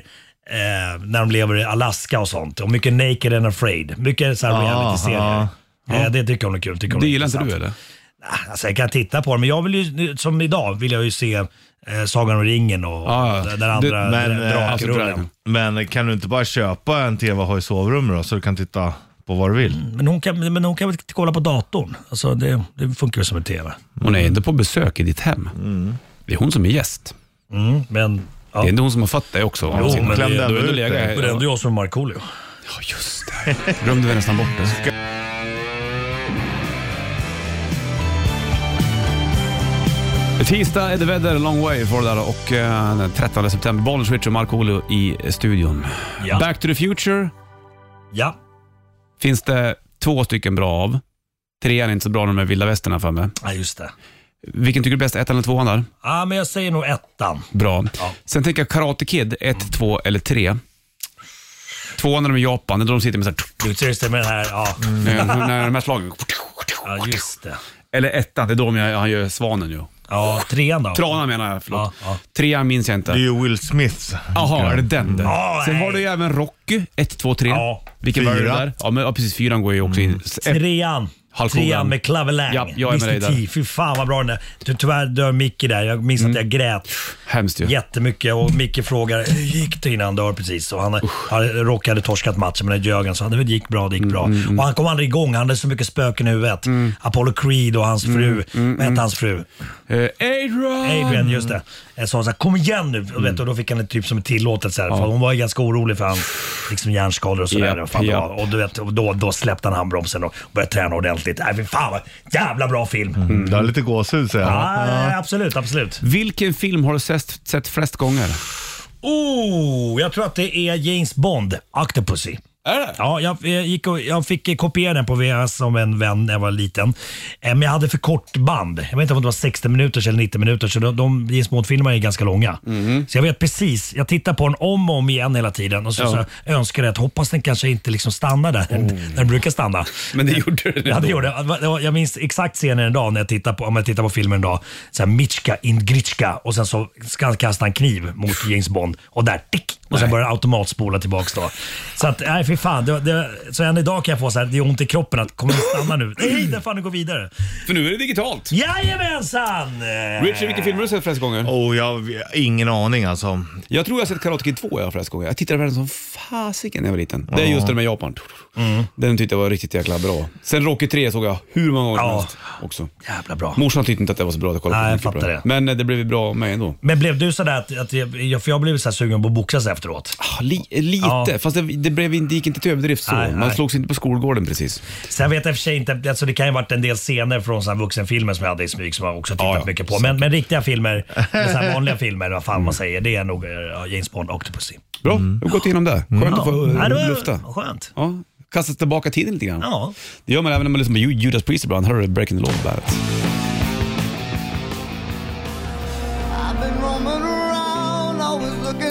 F: eh, när de lever i Alaska och sånt. Och mycket Naked and Afraid. Mycket så här
C: Ah,
F: reality-serier. Eh, det tycker hon är kul. Tycker hon
B: Det
F: är
B: gillar inte
F: intressant.
B: du eller?
F: Ah, Alltså, jag kan titta på det, men jag vill ju, nu- som idag vill jag ju se eh, Sagan om ringen och
B: Ah, Ja, ja.
F: den den
B: Du-
F: andra
C: men,
F: dra-
C: eh,
B: alltså,
F: drakrullen.
B: draken.
C: Men kan du inte bara köpa en TV och ha i sovrummet då, så du kan titta på vad du vill?
F: men, hon kan, men hon kan väl kolla på datorn? Alltså, det, det funkar ju som en TV.
B: Hon är inte på besök i ditt hem. Det är hon som är gäst.
F: Mm, men... Mm. Ja.
B: Det är inte hon som har fött dig också.
F: Jo, men det-
C: Klämde
B: du
C: ändå
B: är ändå
C: ut
B: legat-
C: dig.
F: Men det är ändå jag som är Markoolio.
B: Ja, just det. Glömde vi nästan bort det. Tisdag är det väder, long way for that och eh, den 13 september, Bollnäs Richard och Markoolio i studion.
F: Ja.
B: Back to the Future
F: Ja.
B: finns det två stycken bra av. Trean är inte så bra när de är vilda västern här för mig.
F: ja, just det.
B: Vilken tycker du är bäst, ettan eller tvåan där?
F: Ja, men jag säger nog ettan.
B: Bra.
F: Ja.
B: Sen tänker jag Karate Kid, ett, två eller tre. Tvåan när de är i Japan, när de sitter med så
F: Du ser det med den här, ja.
B: här, när de här slagen.
F: Mm. ja just det.
B: Eller ettan, det är då de gör- han gör svanen ju.
F: Ja, trean då?
B: Tranan menar jag, förlåt.
F: Ja, ja.
B: Trean minns jag
C: Det är
B: inte.
C: ju Will Smith.
B: Jaha, är det den det?
F: Ja,
B: Sen
F: nej.
B: var det ju även Rocky, 1, 2, 3.
F: Ja.
B: Vilken var det
C: Fyra.
B: där? Ja, men, ja, precis. Fyran går ju också in. S- ett-
F: Trean.
B: eh, Hulk Hogan.
F: Trean med Clavelang.
B: Ja, jag är med dig där.
F: Fy fan vad bra den är. Ty- Tyvärr dör Micke där. Jag minns
B: Mm.
F: att jag grät
B: Hemskt ju.
F: jättemycket och Micke frågar hur gick det innan han dör precis. Och han, han råkade torskat matchen men det ljög han så han, det gick bra, det gick
B: Mm,
F: bra. Och han kom aldrig igång. Han hade så mycket spöken i huvudet. Apollo Creed och
B: Mm,
F: hans fru. Vad hette hans fru?
B: Eh, Adrian!
F: Adrian, just det. Jag sa såhär, kom igen nu. Och,
B: Mm.
F: vet, du, och då fick han en typ som en tillåtelse. Här, för hon var ju ganska orolig för hans liksom, hjärnskador och sådär.
B: Japp,
F: och fan, det var.
B: japp.
F: Och, du vet, och då, då släppte han handbromsen och började träna ordentligt. Äh, fy fan vad jävla bra film.
C: Mm. Du har lite gåshud säger jag.
F: Ja, Absolut, absolut.
B: Vilken film har du sett, sett flest gånger?
F: Oh, jag tror att det är James Bond, Octopussy.
B: Är det?
F: Ja, jag, jag, gick och, jag fick kopiera den på VHS som en vän när jag var liten. Eh, Men jag hade för kort band. Jag vet inte om det var 60 minuter eller 90 minuter så de, de James Bond-filmerna är ganska långa.
B: Mhm.
F: Så jag vet precis. Jag tittar på den om och om igen hela tiden och så, så önskar jag att hoppas den kanske inte liksom stannar där
B: Oh.
F: den, där den brukar stanna.
B: Men det gjorde du
F: Ja, det
B: ändå.
F: gjorde jag. Det var- det var- Jag minns exakt scenen en dag när jag tittar på, om jag tittar på filmen en dag. Så här, Mitchka in Gritschka och sen så ska han kasta en kniv mot James Bond och där, tick! Och sen börjar det automatspola tillbaks då. Så att, nej fy fan. Det, det, så än idag kan jag få så här, det är ont i kroppen att kommer den stanna nu? Nej, där fan, nu går vidare.
B: För nu är det digitalt.
F: Jajamensan! Eh,
B: Richard, vilken film har du sett flest gånger?
C: Oh, jag har ingen aning alltså.
B: Jag tror jag har sett Karate Kid 2 jag flest gånger. Jag tittade på den som fasiken när jag var liten. Det är just den med Japan.
F: Mm.
B: Den tyckte jag var riktigt jäkla bra. Sen Rocky 3 såg jag hur många gånger som
F: Ja.
B: helst också.
F: Jävla bra.
B: Morsan tyckte inte att det var så bra att jag kollade på.
F: Nej, jag
B: Mycket
F: fattar
B: bra.
F: det.
B: Men eh, det blev ju bra av mig ändå.
F: Men blev du sådär att, att jag, för jag blev så här sugen på att boxas efteråt.
B: Ah, li, lite,
F: Ja.
B: fast det, det blev inte, det gick inte till överdrift så.
F: Nej,
B: Man
F: nej.
B: slogs inte på skolgården precis.
F: Sen vet jag i och för sig inte, alltså det kan ju ha varit en del scener från så här vuxenfilmer som jag hade i smyg som jag också tittat
B: Ja, ja,
F: mycket på. Men, men riktiga filmer, eller så här vanliga filmer, vad fan man säger, det är nog eh, ja, James Bond, Octopussy.
B: Bra, vi har gått igenom det. Skönt att få eh,
F: Mm. Ja, det var
B: lufta.
F: Skönt.
B: Ja, kastat tillbaka tiden lite grann.
F: Ja.
B: Det gör man även när man lyssnar på Ju- Judas Priest ibland. Här har du Breaking the Law på bandet.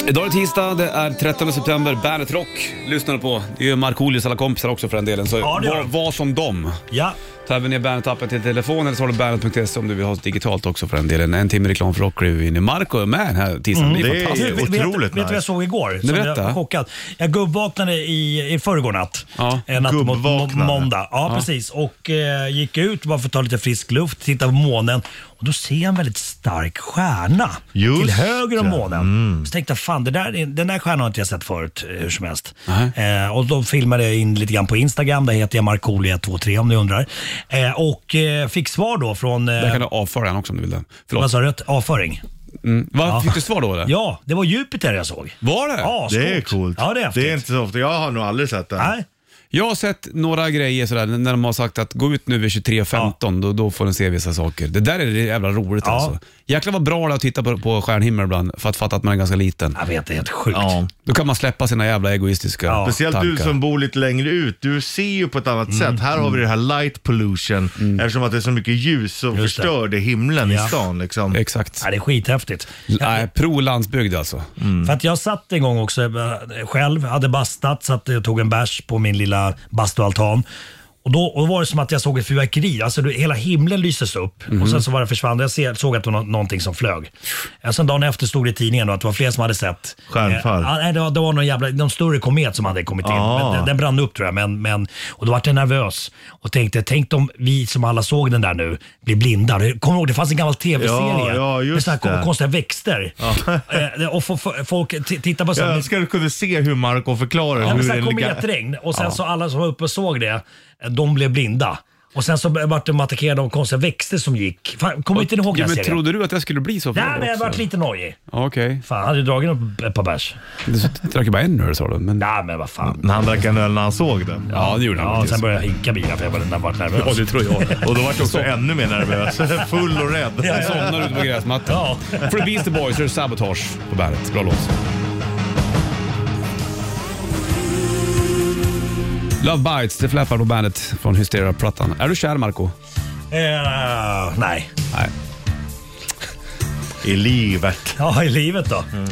B: Idag är det tisdag, det är 13 september. Bandet Rock lyssnar du på. Det är ju Markoolios alla kompisar också för den delen. Så
F: Ja, det gör
B: var,
F: de.
B: var som dem.
F: ja.
B: Ta även ner Bandet-appen till telefonen eller så har du bandet.se om du vill ha oss digitalt också för den delen. En timme reklam för Rock är inne. Marco är med här tisdagen.
F: Mm.
B: det är
C: det är-
B: fantastiskt.
F: Du, Alltså, vet- vet,
C: otroligt
F: vet du vad
C: nice.
F: jag såg igår?
B: Nej,
F: Som jag
B: berätta.
F: var chockad. Jag gubbvaknade i, i förrgår natt.
B: Ja.
F: En natt mot må-
C: Gubbvaknade.
F: måndag. Ja, precis. Och eh, gick ut bara för att ta lite frisk luft, titta på månen. Och då ser jag en väldigt stark stjärna
C: Just
F: till höger om
C: det. Mm.
F: månen. Så tänkte jag, fan det där, är- den där stjärnan har inte jag sett förut eh, hur som helst. Eh, och då filmade jag in lite grann på Instagram. Där heter jag Markolia23 om ni undrar. Eh, och eh, fick svar då från... Eh,
B: Där kan du avföra han också om du vill det. Förlåt.
F: vad sa du? Avföring.
B: Mm. Va, Fick du svar då eller?
F: Ja, det var Jupiter jag såg.
B: Var det?
F: Ja,
C: Det är
F: stort.
C: coolt.
F: Ja, det är häftigt.
C: inte så ofta. Jag har nog aldrig sett det.
F: Nej.
B: Jag har sett några grejer sådär, när de har sagt att gå ut nu vid 23.15, då, då får ni se vissa saker. Det där är det jävla roligt
F: Ja.
B: alltså. Jäklar vad bra det är att titta på, på stjärnhimmel ibland för att fatta att man är ganska liten.
F: Jag vet, det är helt sjukt.
C: Ja.
B: Då kan man släppa sina jävla egoistiska
F: Ja. Mm,
C: Speciellt
B: tankar.
C: du som bor lite längre ut, du ser ju på ett annat sätt. Här har vi det här light pollution, eftersom att det är så mycket ljus som
F: Just det.
C: förstör det. himlen
F: Ja.
C: i stan. Liksom.
B: Exakt.
F: Ja, det är skithäftigt.
B: Nej, pro landsbygd alltså.
C: Mm.
F: För att jag satt en gång också eh, själv, hade bastat, satt och tog en bärs på min lilla bastualtan. Och då, och då var det som att jag såg ett fyrverkeri. Alltså, du, hela himlen lystes upp
C: Mm.
F: och sen så var det försvann Jag ser, såg att det var nå- någonting som flög. Eh, Sen dagen efter stod det i tidningen då att det var fler som hade sett.
C: Stjärnfall.
F: Eh, ja, nej, det, var, det var någon jävla, någon större komet som hade kommit in.
C: Ah.
F: Men den, den brann upp tror jag. Men, men, och då vart jag nervös och tänkte, tänk om vi som alla såg den där nu blir blinda. Kommer du ihåg, det fanns en gammal tv-serie
C: Ja, ja, just
F: med såna här
C: det.
F: konstiga växter. Eh, och få- få- folk t- tittar på
C: Jag
F: sådana
C: önskar att du kunde se hur Marco förklarar
F: ja, men
C: hur
F: så här
C: det
F: kometregn och sen så alla som var uppe och såg det, eh, de blev blinda. Och sen så vart de attackerade av konstiga växter som gick. Fan, kommer inte ni ihåg
B: Ja,
F: den här
B: men
F: serien?
B: trodde du att jag skulle bli så
F: Nej, men jag
B: också?
F: vart lite nojig.
B: Ja, Okej.
F: Fan, hade du dragit upp ett par bärs?
B: Du drack ju bara en öl sa du. Men...
F: Nej, men vad fan.
C: När han drack en öl när han såg det.
B: Ja, Mm, det gjorde han
F: Ja,
B: faktiskt.
F: sen började jag hinka bilar för jag var- jag vart nervös.
B: Ja, det tror jag.
C: Och då var jag också ännu mer nervös. Full och rädd.
B: Jag somnar ute på gräsmattan.
F: Ja.
B: För The Beastie Boys är det Sabotage på bandet. Bra låt. Love Bites, det fläppar på bandet från Hysteria-plattan. Är du kär Marco?
F: Eh, nej.
B: Nej.
C: I livet.
F: Ja, i livet då.
B: Mm.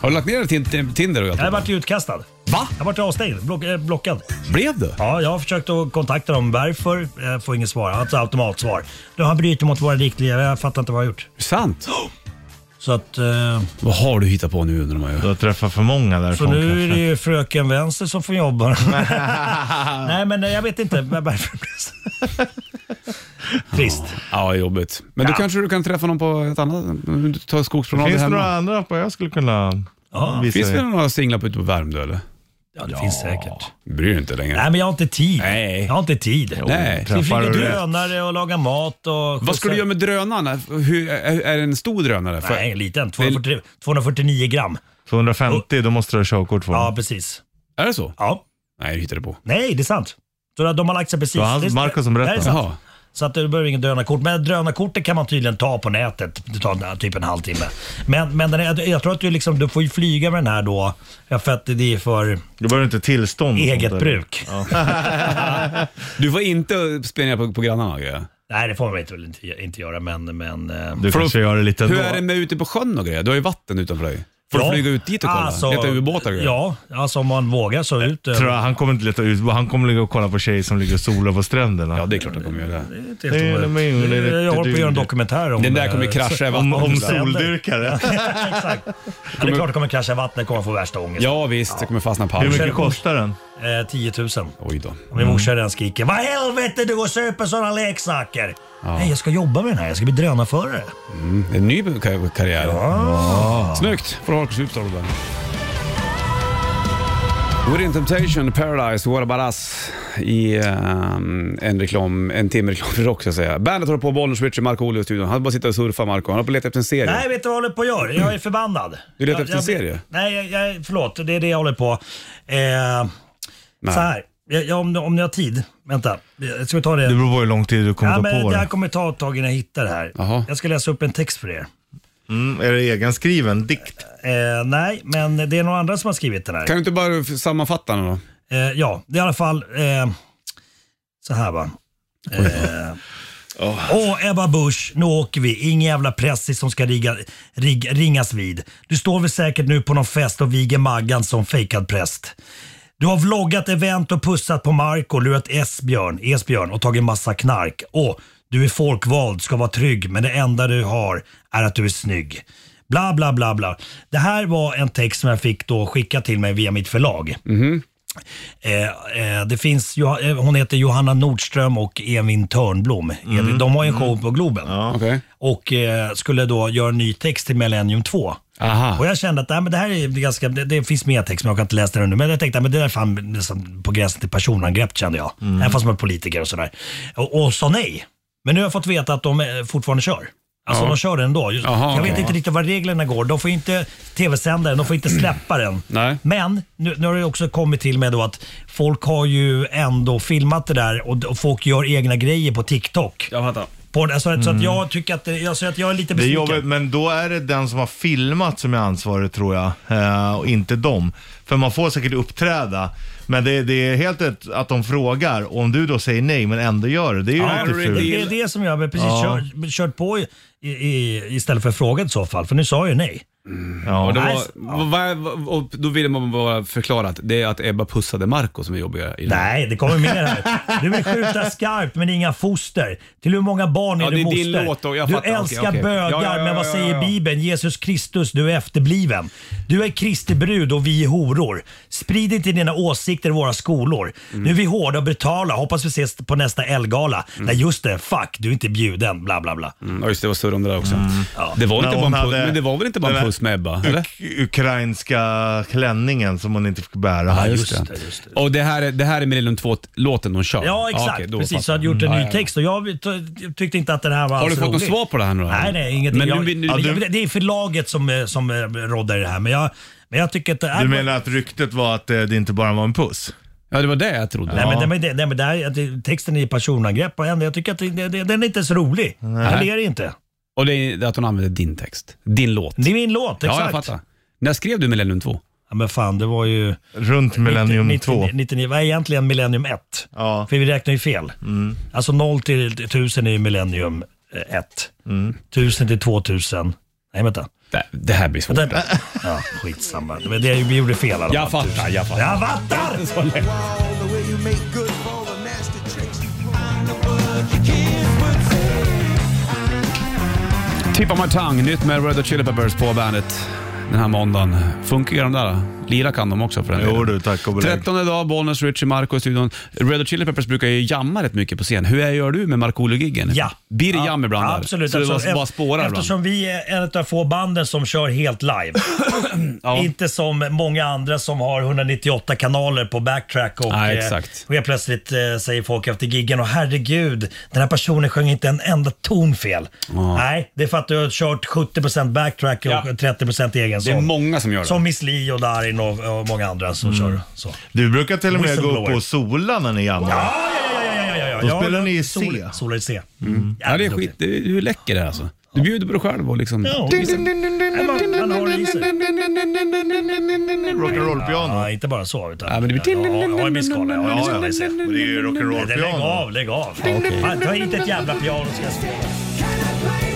B: Har du lagt ner tin- Tinder och allt?
F: Jag vart ju utkastad.
B: Va?
F: Jag vart avstängd, block, eh, blockad.
B: Blev du?
F: Ja, jag har försökt att kontakta dem. Varför? Jag får inget svar. Alltså automatsvar. Du har brutit mot våra riktlinjer. Jag fattar inte vad jag har gjort.
B: Sant?
F: Så att... eh,
B: Vad har du hittat på nu undrar man ju.
C: Du har träffat för många
F: Så
C: därifrån
F: nu är det
C: kanske.
F: ju fröken vänster som får jobba. Nej, men eh, jag vet inte varför. Trist.
B: Ja, jobbigt. Men då kanske du kan träffa någon på ett annat... Ta skogspromenader
C: Finns det
B: hemma.
C: några andra appar jag skulle kunna visa
B: Finns det
C: er?
B: några singlar på- ute på Värmdö eller?
F: Ja, det finns säkert.
B: Bryr dig inte längre.
F: Nej, men jag har inte tid.
B: Nej.
F: Jag har inte tid.
B: Nej.
F: Vi
C: Träffar
F: flyger
C: du
F: drönare och lagar mat och...
B: Vad ska du göra med drönarna? Hur, är, är det en stor drönare? För-
F: Nej, en liten. 240, 249 gram.
C: 250, då måste du ha körkort för.
F: Ja,
C: Ja,
F: precis.
B: Är det så?
F: Ja.
B: Nej, du hittade på.
F: Nej, det är sant. Så de har lagt sig precis.
C: det var han,
F: Det-
C: Marco som
F: det här är
C: berättade.
F: sant.
B: Jaha.
F: Så att du behöver inget drönarkort. Men drönarkortet kan man tydligen ta på nätet. Det tar en- typ en halvtimme. Men, men den är, jag tror att du, liksom, du får ju flyga med den här då. ja, För att det är för
C: Du behöver inte tillstånd. och sånt
F: eget
C: där.
F: bruk.
B: Du får inte spela på, på grannarna och grejer.
F: Nej, det får man inte, väl inte, inte göra. Men, men, eh,
C: Du kanske gör det lite
B: Hur
C: ändå.
B: är det med ute på sjön och grejer? Du har ju vatten utanför dig. Får du flyga ut dit och kolla?
C: Alltså,
B: Leta ubåtar och grejer?
F: Alltså- Ja, alltså om man vågar så ut. eh,
C: Tror jag, han kommer inte leta ut, han kommer ligga och kolla på tjejer som ligger och solar på stränderna.
B: Ja, det är klart att de kommer göra det.
F: det är helt
C: det är-
F: omöjligt.
C: det är-
F: Jag håller på att göra en dokumentär om
B: Den där
F: eh,
B: kommer krascha i
C: om, om
B: vattnet.
C: soldyrkare.
F: Exakt. Ja, det är klart det kommer krascha i vattnet. kommer få värsta ångest.
B: Ja, visst. Det kommer fastna på
C: Hur
B: halsen.
C: mycket kostar den?
F: Eh, 10 000.
B: Oj då.
F: Och Min morsa redan skriker Vad helvete du går och söper sådana leksaker. Nej, jag ska jobba med den här. Jag ska bli drönarförare.
B: Det är En ny kar- karriär. Ja. Snyggt. Får Harkus ut av det där. Within Temptation, Paradise, What About Us i ehm, en, reklam, en timme reklam för rock så att säga. Bandet håller på och bollnäs Richard Marco Olio i studion. Han bara sitter och surfar Marco. Han har på letat efter en serie.
F: Nej, vet du vad jag håller på och gör? Jag är förbannad.
B: Du letar
F: Jag-
B: efter en
F: jag-
B: serie?
F: Nej, jag, jag, förlåt. Det är det jag håller på. Eh,
B: Nej.
F: Så här, jag, jag, om, om ni har tid, vänta. Jag Ska vi ta det?
C: Det beror på hur lång tid du kommer
F: ja,
C: ta
F: men
C: på
F: det här
C: dig.
F: kommer ta ett tag innan jag hittar det här.
B: Jaha.
F: Jag ska läsa upp en text för er.
C: Mm, är det egenskriven dikt?
F: Eh, nej, men det är några andra som har skrivit den här.
B: Kan du inte bara f- sammanfatta den då?
F: Eh, ja, det är i alla fall eh, så här va. Eh, Åh Ebba Busch, nu åker vi. Ingen jävla pressis som ska rigga, rig, ringas vid. Du står väl säkert nu på någon fest och viger Maggan som fejkad präst. Du har vloggat event och pussat på Marco, lurat Esbjörn, Esbjörn och tagit massa knark. Åh, du är folkvald, ska vara trygg, men det enda du har är att du är snygg. Bla, bla, bla, bla. Det här var en text som jag fick då skicka till mig via mitt förlag. Eh, eh, det finns, Jo- eh, hon heter Johanna Nordström och Evin Törnblom. Evin, de har ju en show på Globen.
B: Okej.
F: Och eh, skulle då göra en ny text till Millennium 2.
B: Aha.
F: Och jag kände att nej, men det här är ganska, det, det finns mer text men jag kan inte läsa den nu. Men jag tänkte att det där är fan liksom, på gränsen till personangrepp kände jag.
B: Mm.
F: Även fast man är politiker och sådär. Och, och sa nej. Men nu har jag fått veta att de eh, fortfarande kör. Alltså
B: Ja.
F: de kör den ändå. Just-
B: Jaha,
F: jag
B: okej.
F: vet inte riktigt vad reglerna går. De får inte tv-sända den, de får inte släppa den.
B: Nej.
F: Men nu, nu har det också kommit till med då att folk har ju ändå filmat det där och, och folk gör egna grejer på TikTok.
B: Jag fattar.
F: På, alltså, Så
B: Mm.
F: att jag tycker att, det- jag, så att jag är lite
C: Det är
F: besviken.
C: jobbigt, men då är det den som har filmat som är ansvarig tror jag eh, och inte dem. För man får säkert uppträda, men det, det är helt ett att de frågar och om du då säger nej men ändå gör det. Det är ju
B: Ja,
C: lite fult.
F: Det är det som jag har precis kört, kört på i, i, istället för frågat i så fall, för nu sa jag ju nej.
B: Och, det
C: Ja.
B: var,
F: Nej,
B: vad- vad- och då ville man bara förklara att det är att Ebba pussade Marco som är jobbigare. i det här.
F: Nej, det kommer mer här. Du vill skjuta skarpt men inga foster. Till hur många barn är
B: Ja, det
F: du
B: är
F: moster?
B: din låt då, jag
F: du
B: fattar. Okej,
F: älskar
B: okej.
F: bögar
B: Ja, ja, ja,
F: men vad
B: ja,
F: säger
B: ja.
F: Bibeln? Jesus Kristus, du är efterbliven. Du är Kristi brud och vi är horor. Sprid inte dina åsikter i våra skolor.
B: Mm.
F: Nu är vi hårda och brutala. Hoppas vi ses på nästa Elgala. Nej just det, fuck du är inte bjuden. Bla bla bla.
B: Mm, ja, just det, det var surr om det där också. Det var
C: Men
B: inte bara
C: hon
B: en puss,
C: hade-
B: men det var väl inte bara en
C: den
B: puss med Ebba? Eller?
C: Uk- Ukrainska klänningen som hon inte fick bära.
F: Ja,
B: just
F: just
B: det.
F: det, just det.
B: Och det här, är- det här är Millennium 2-låten de kör?
F: Ja, exakt.
B: okej, då
F: Precis, så
B: fattar
F: jag hade gjort en
B: jag. Mm,
F: ny
B: Ja, ja, ja.
F: text och jag ty- tyckte inte att den här var
B: Har du
F: alls
B: fått något
F: rolig.
B: svar på det här nu då?
F: Nej, nej, ingenting.
B: Men
F: jag,
B: nu, nu,
F: ja,
B: nu,
F: det- det är förlaget som, eh, som eh, råddar det här, men jag, men jag tycker att... det här-
C: Du menar att ryktet var att eh, det inte bara var en puss?
B: ja, det var det jag trodde.
F: Nej, men, det- men, det- nej, men det här, att det- texten är personangrepp och ändå, jag tycker att det, det, den är inte så rolig. Jag ler inte.
B: Och det är att hon använde din text. Din låt.
F: Det är min låt, Mm, exakt.
B: Ja, jag fattar. När skrev du Millennium 2?
F: Ja, men fan, det var ju...
C: Runt Millennium 2.
F: 99, vad är egentligen Millennium 1?
C: Ja.
F: För vi räknar ju fel.
B: Mm.
F: Alltså 0 till 1000 är ju Millennium 1.
B: Mm.
F: 1000 till 2000. Nej, vänta.
B: Det, det här blir svårt.
F: Den, ja, skitsamma. Det, var det vi gjorde fel i alla
B: Äh. Jag
F: fall.
B: fattar, jag fattar.
F: Jag fattar!
D: All the way you make good for all the nasty tricks you pull. I know what you kids would say.
B: Tip of my tongue, nytt med Red Hot Chili Peppers på bandet den här måndagen. Funkar de där? Lira kan de också för den
C: Jo
B: delen.
C: du, tack och belägg.
B: Trettonde dag, Bollnäs, Richie, Marco i studion. Red Hot Chili Peppers brukar ju jamma rätt mycket på scen. Hur gör du med Markoolio-giggen?
F: Ja.
B: Blir det
F: Ja,
B: jam ibland?
F: ja,
B: där?
F: Absolut.
B: Så det
F: Eftersom-
B: bara, bara spårar
F: Eftersom vi är en av de få banden som kör helt live.
B: Ja.
F: Inte som många andra som har 198 kanaler på backtrack och,
B: Nej,
F: eh,
B: exakt.
F: och helt plötsligt eh, säger folk efter giggen och herregud, den här personen sjöng inte en enda ton fel. Nej, det är för att du har kört 70% backtrack och
B: Ja.
F: 30% egen
B: Det är
F: sång.
B: många Mm. som gör det.
F: Som Miss Li och Darin och, och många andra som kör så.
C: Du brukar till och med gå upp
F: Whistleblower.
C: och sola när ni jammar.
F: Ja, ja, ja, ja, ja, ja, ja.
C: Då
F: Ja,
C: spelar ni i
F: Sol-
C: C. Mm.
F: Solar i C. Mm.
B: Ja, det är
F: Jävligt
B: skit. Du, du är läcker där alltså. Du bjuder på dig själv och liksom...
F: Ja.
B: Vissa-
F: Nej, man- man har det i sig.
C: Rock'n'roll-piano.
F: Ja, inte bara så. Utan,
B: Ja, men det blir-
F: Ja, jag har en misskala. Jag har en
C: Ja, ja.
F: misskala i sig.
C: Och det är ju
F: Nej, Lägg
C: rock'n'roll-piano.
F: av, lägg av. Fan, Ta hit ett jävla piano ska jag spela.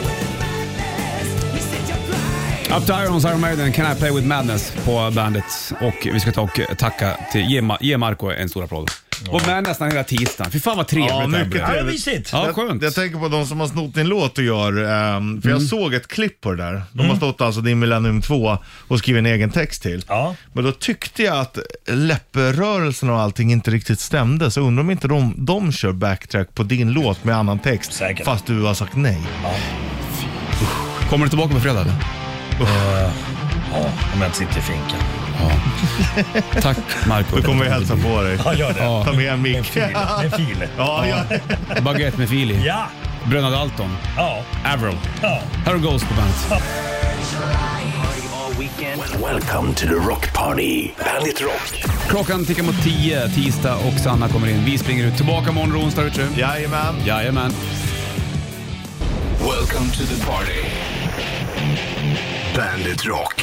B: Up to Irons, Iron Maiden, Can I Play With Madness på bandet. Och vi ska ta och tacka till, ge, Ma- ge Marco en stor applåd. Och med nästan hela tisdagen. Fy fan vad trevligt
C: Ja,
B: det här
C: mycket
B: blev.
F: Ja, det är
C: trevligt.
F: mysigt.
B: Ja,
C: Jag,
B: skönt. Mm.
C: jag tänker på de som har snott din låt och gör, ehm, för jag såg ett klipp på det där. De
F: Mm.
C: har snott alltså din Millennium 2 och skrivit en egen text till.
F: Ja.
C: Men då tyckte jag att läpprörelsen och allting inte riktigt stämde, så undrar om inte de, de kör backtrack på din låt med annan text,
F: Säkert.
C: fast du har sagt nej.
B: Kommer du tillbaka på fredag? eller?
F: Ja, om jag inte sitter i finken.
B: Tack Marco.
C: Då kommer vi hälsa på dig.
F: Ja, gör det.
C: Ta med en
F: Med
C: mick.
F: fil. Med fil.
C: Ja, ja.
B: Baguette med Fili.
F: Ja,
B: Bröderna Dalton.
F: ja,
B: Avril.
F: ja.
B: Här är Ghost på bandet.
A: All weekend. Welcome to the rock party. Bandit Rock.
B: Klockan tickar mot tio, tisdag och Sanna kommer in. Vi springer ut. Tillbaka imorgon, onsdag, vet du.
C: Jajamän.
B: Jajamän.
A: Welcome to the party. Bandit Rock.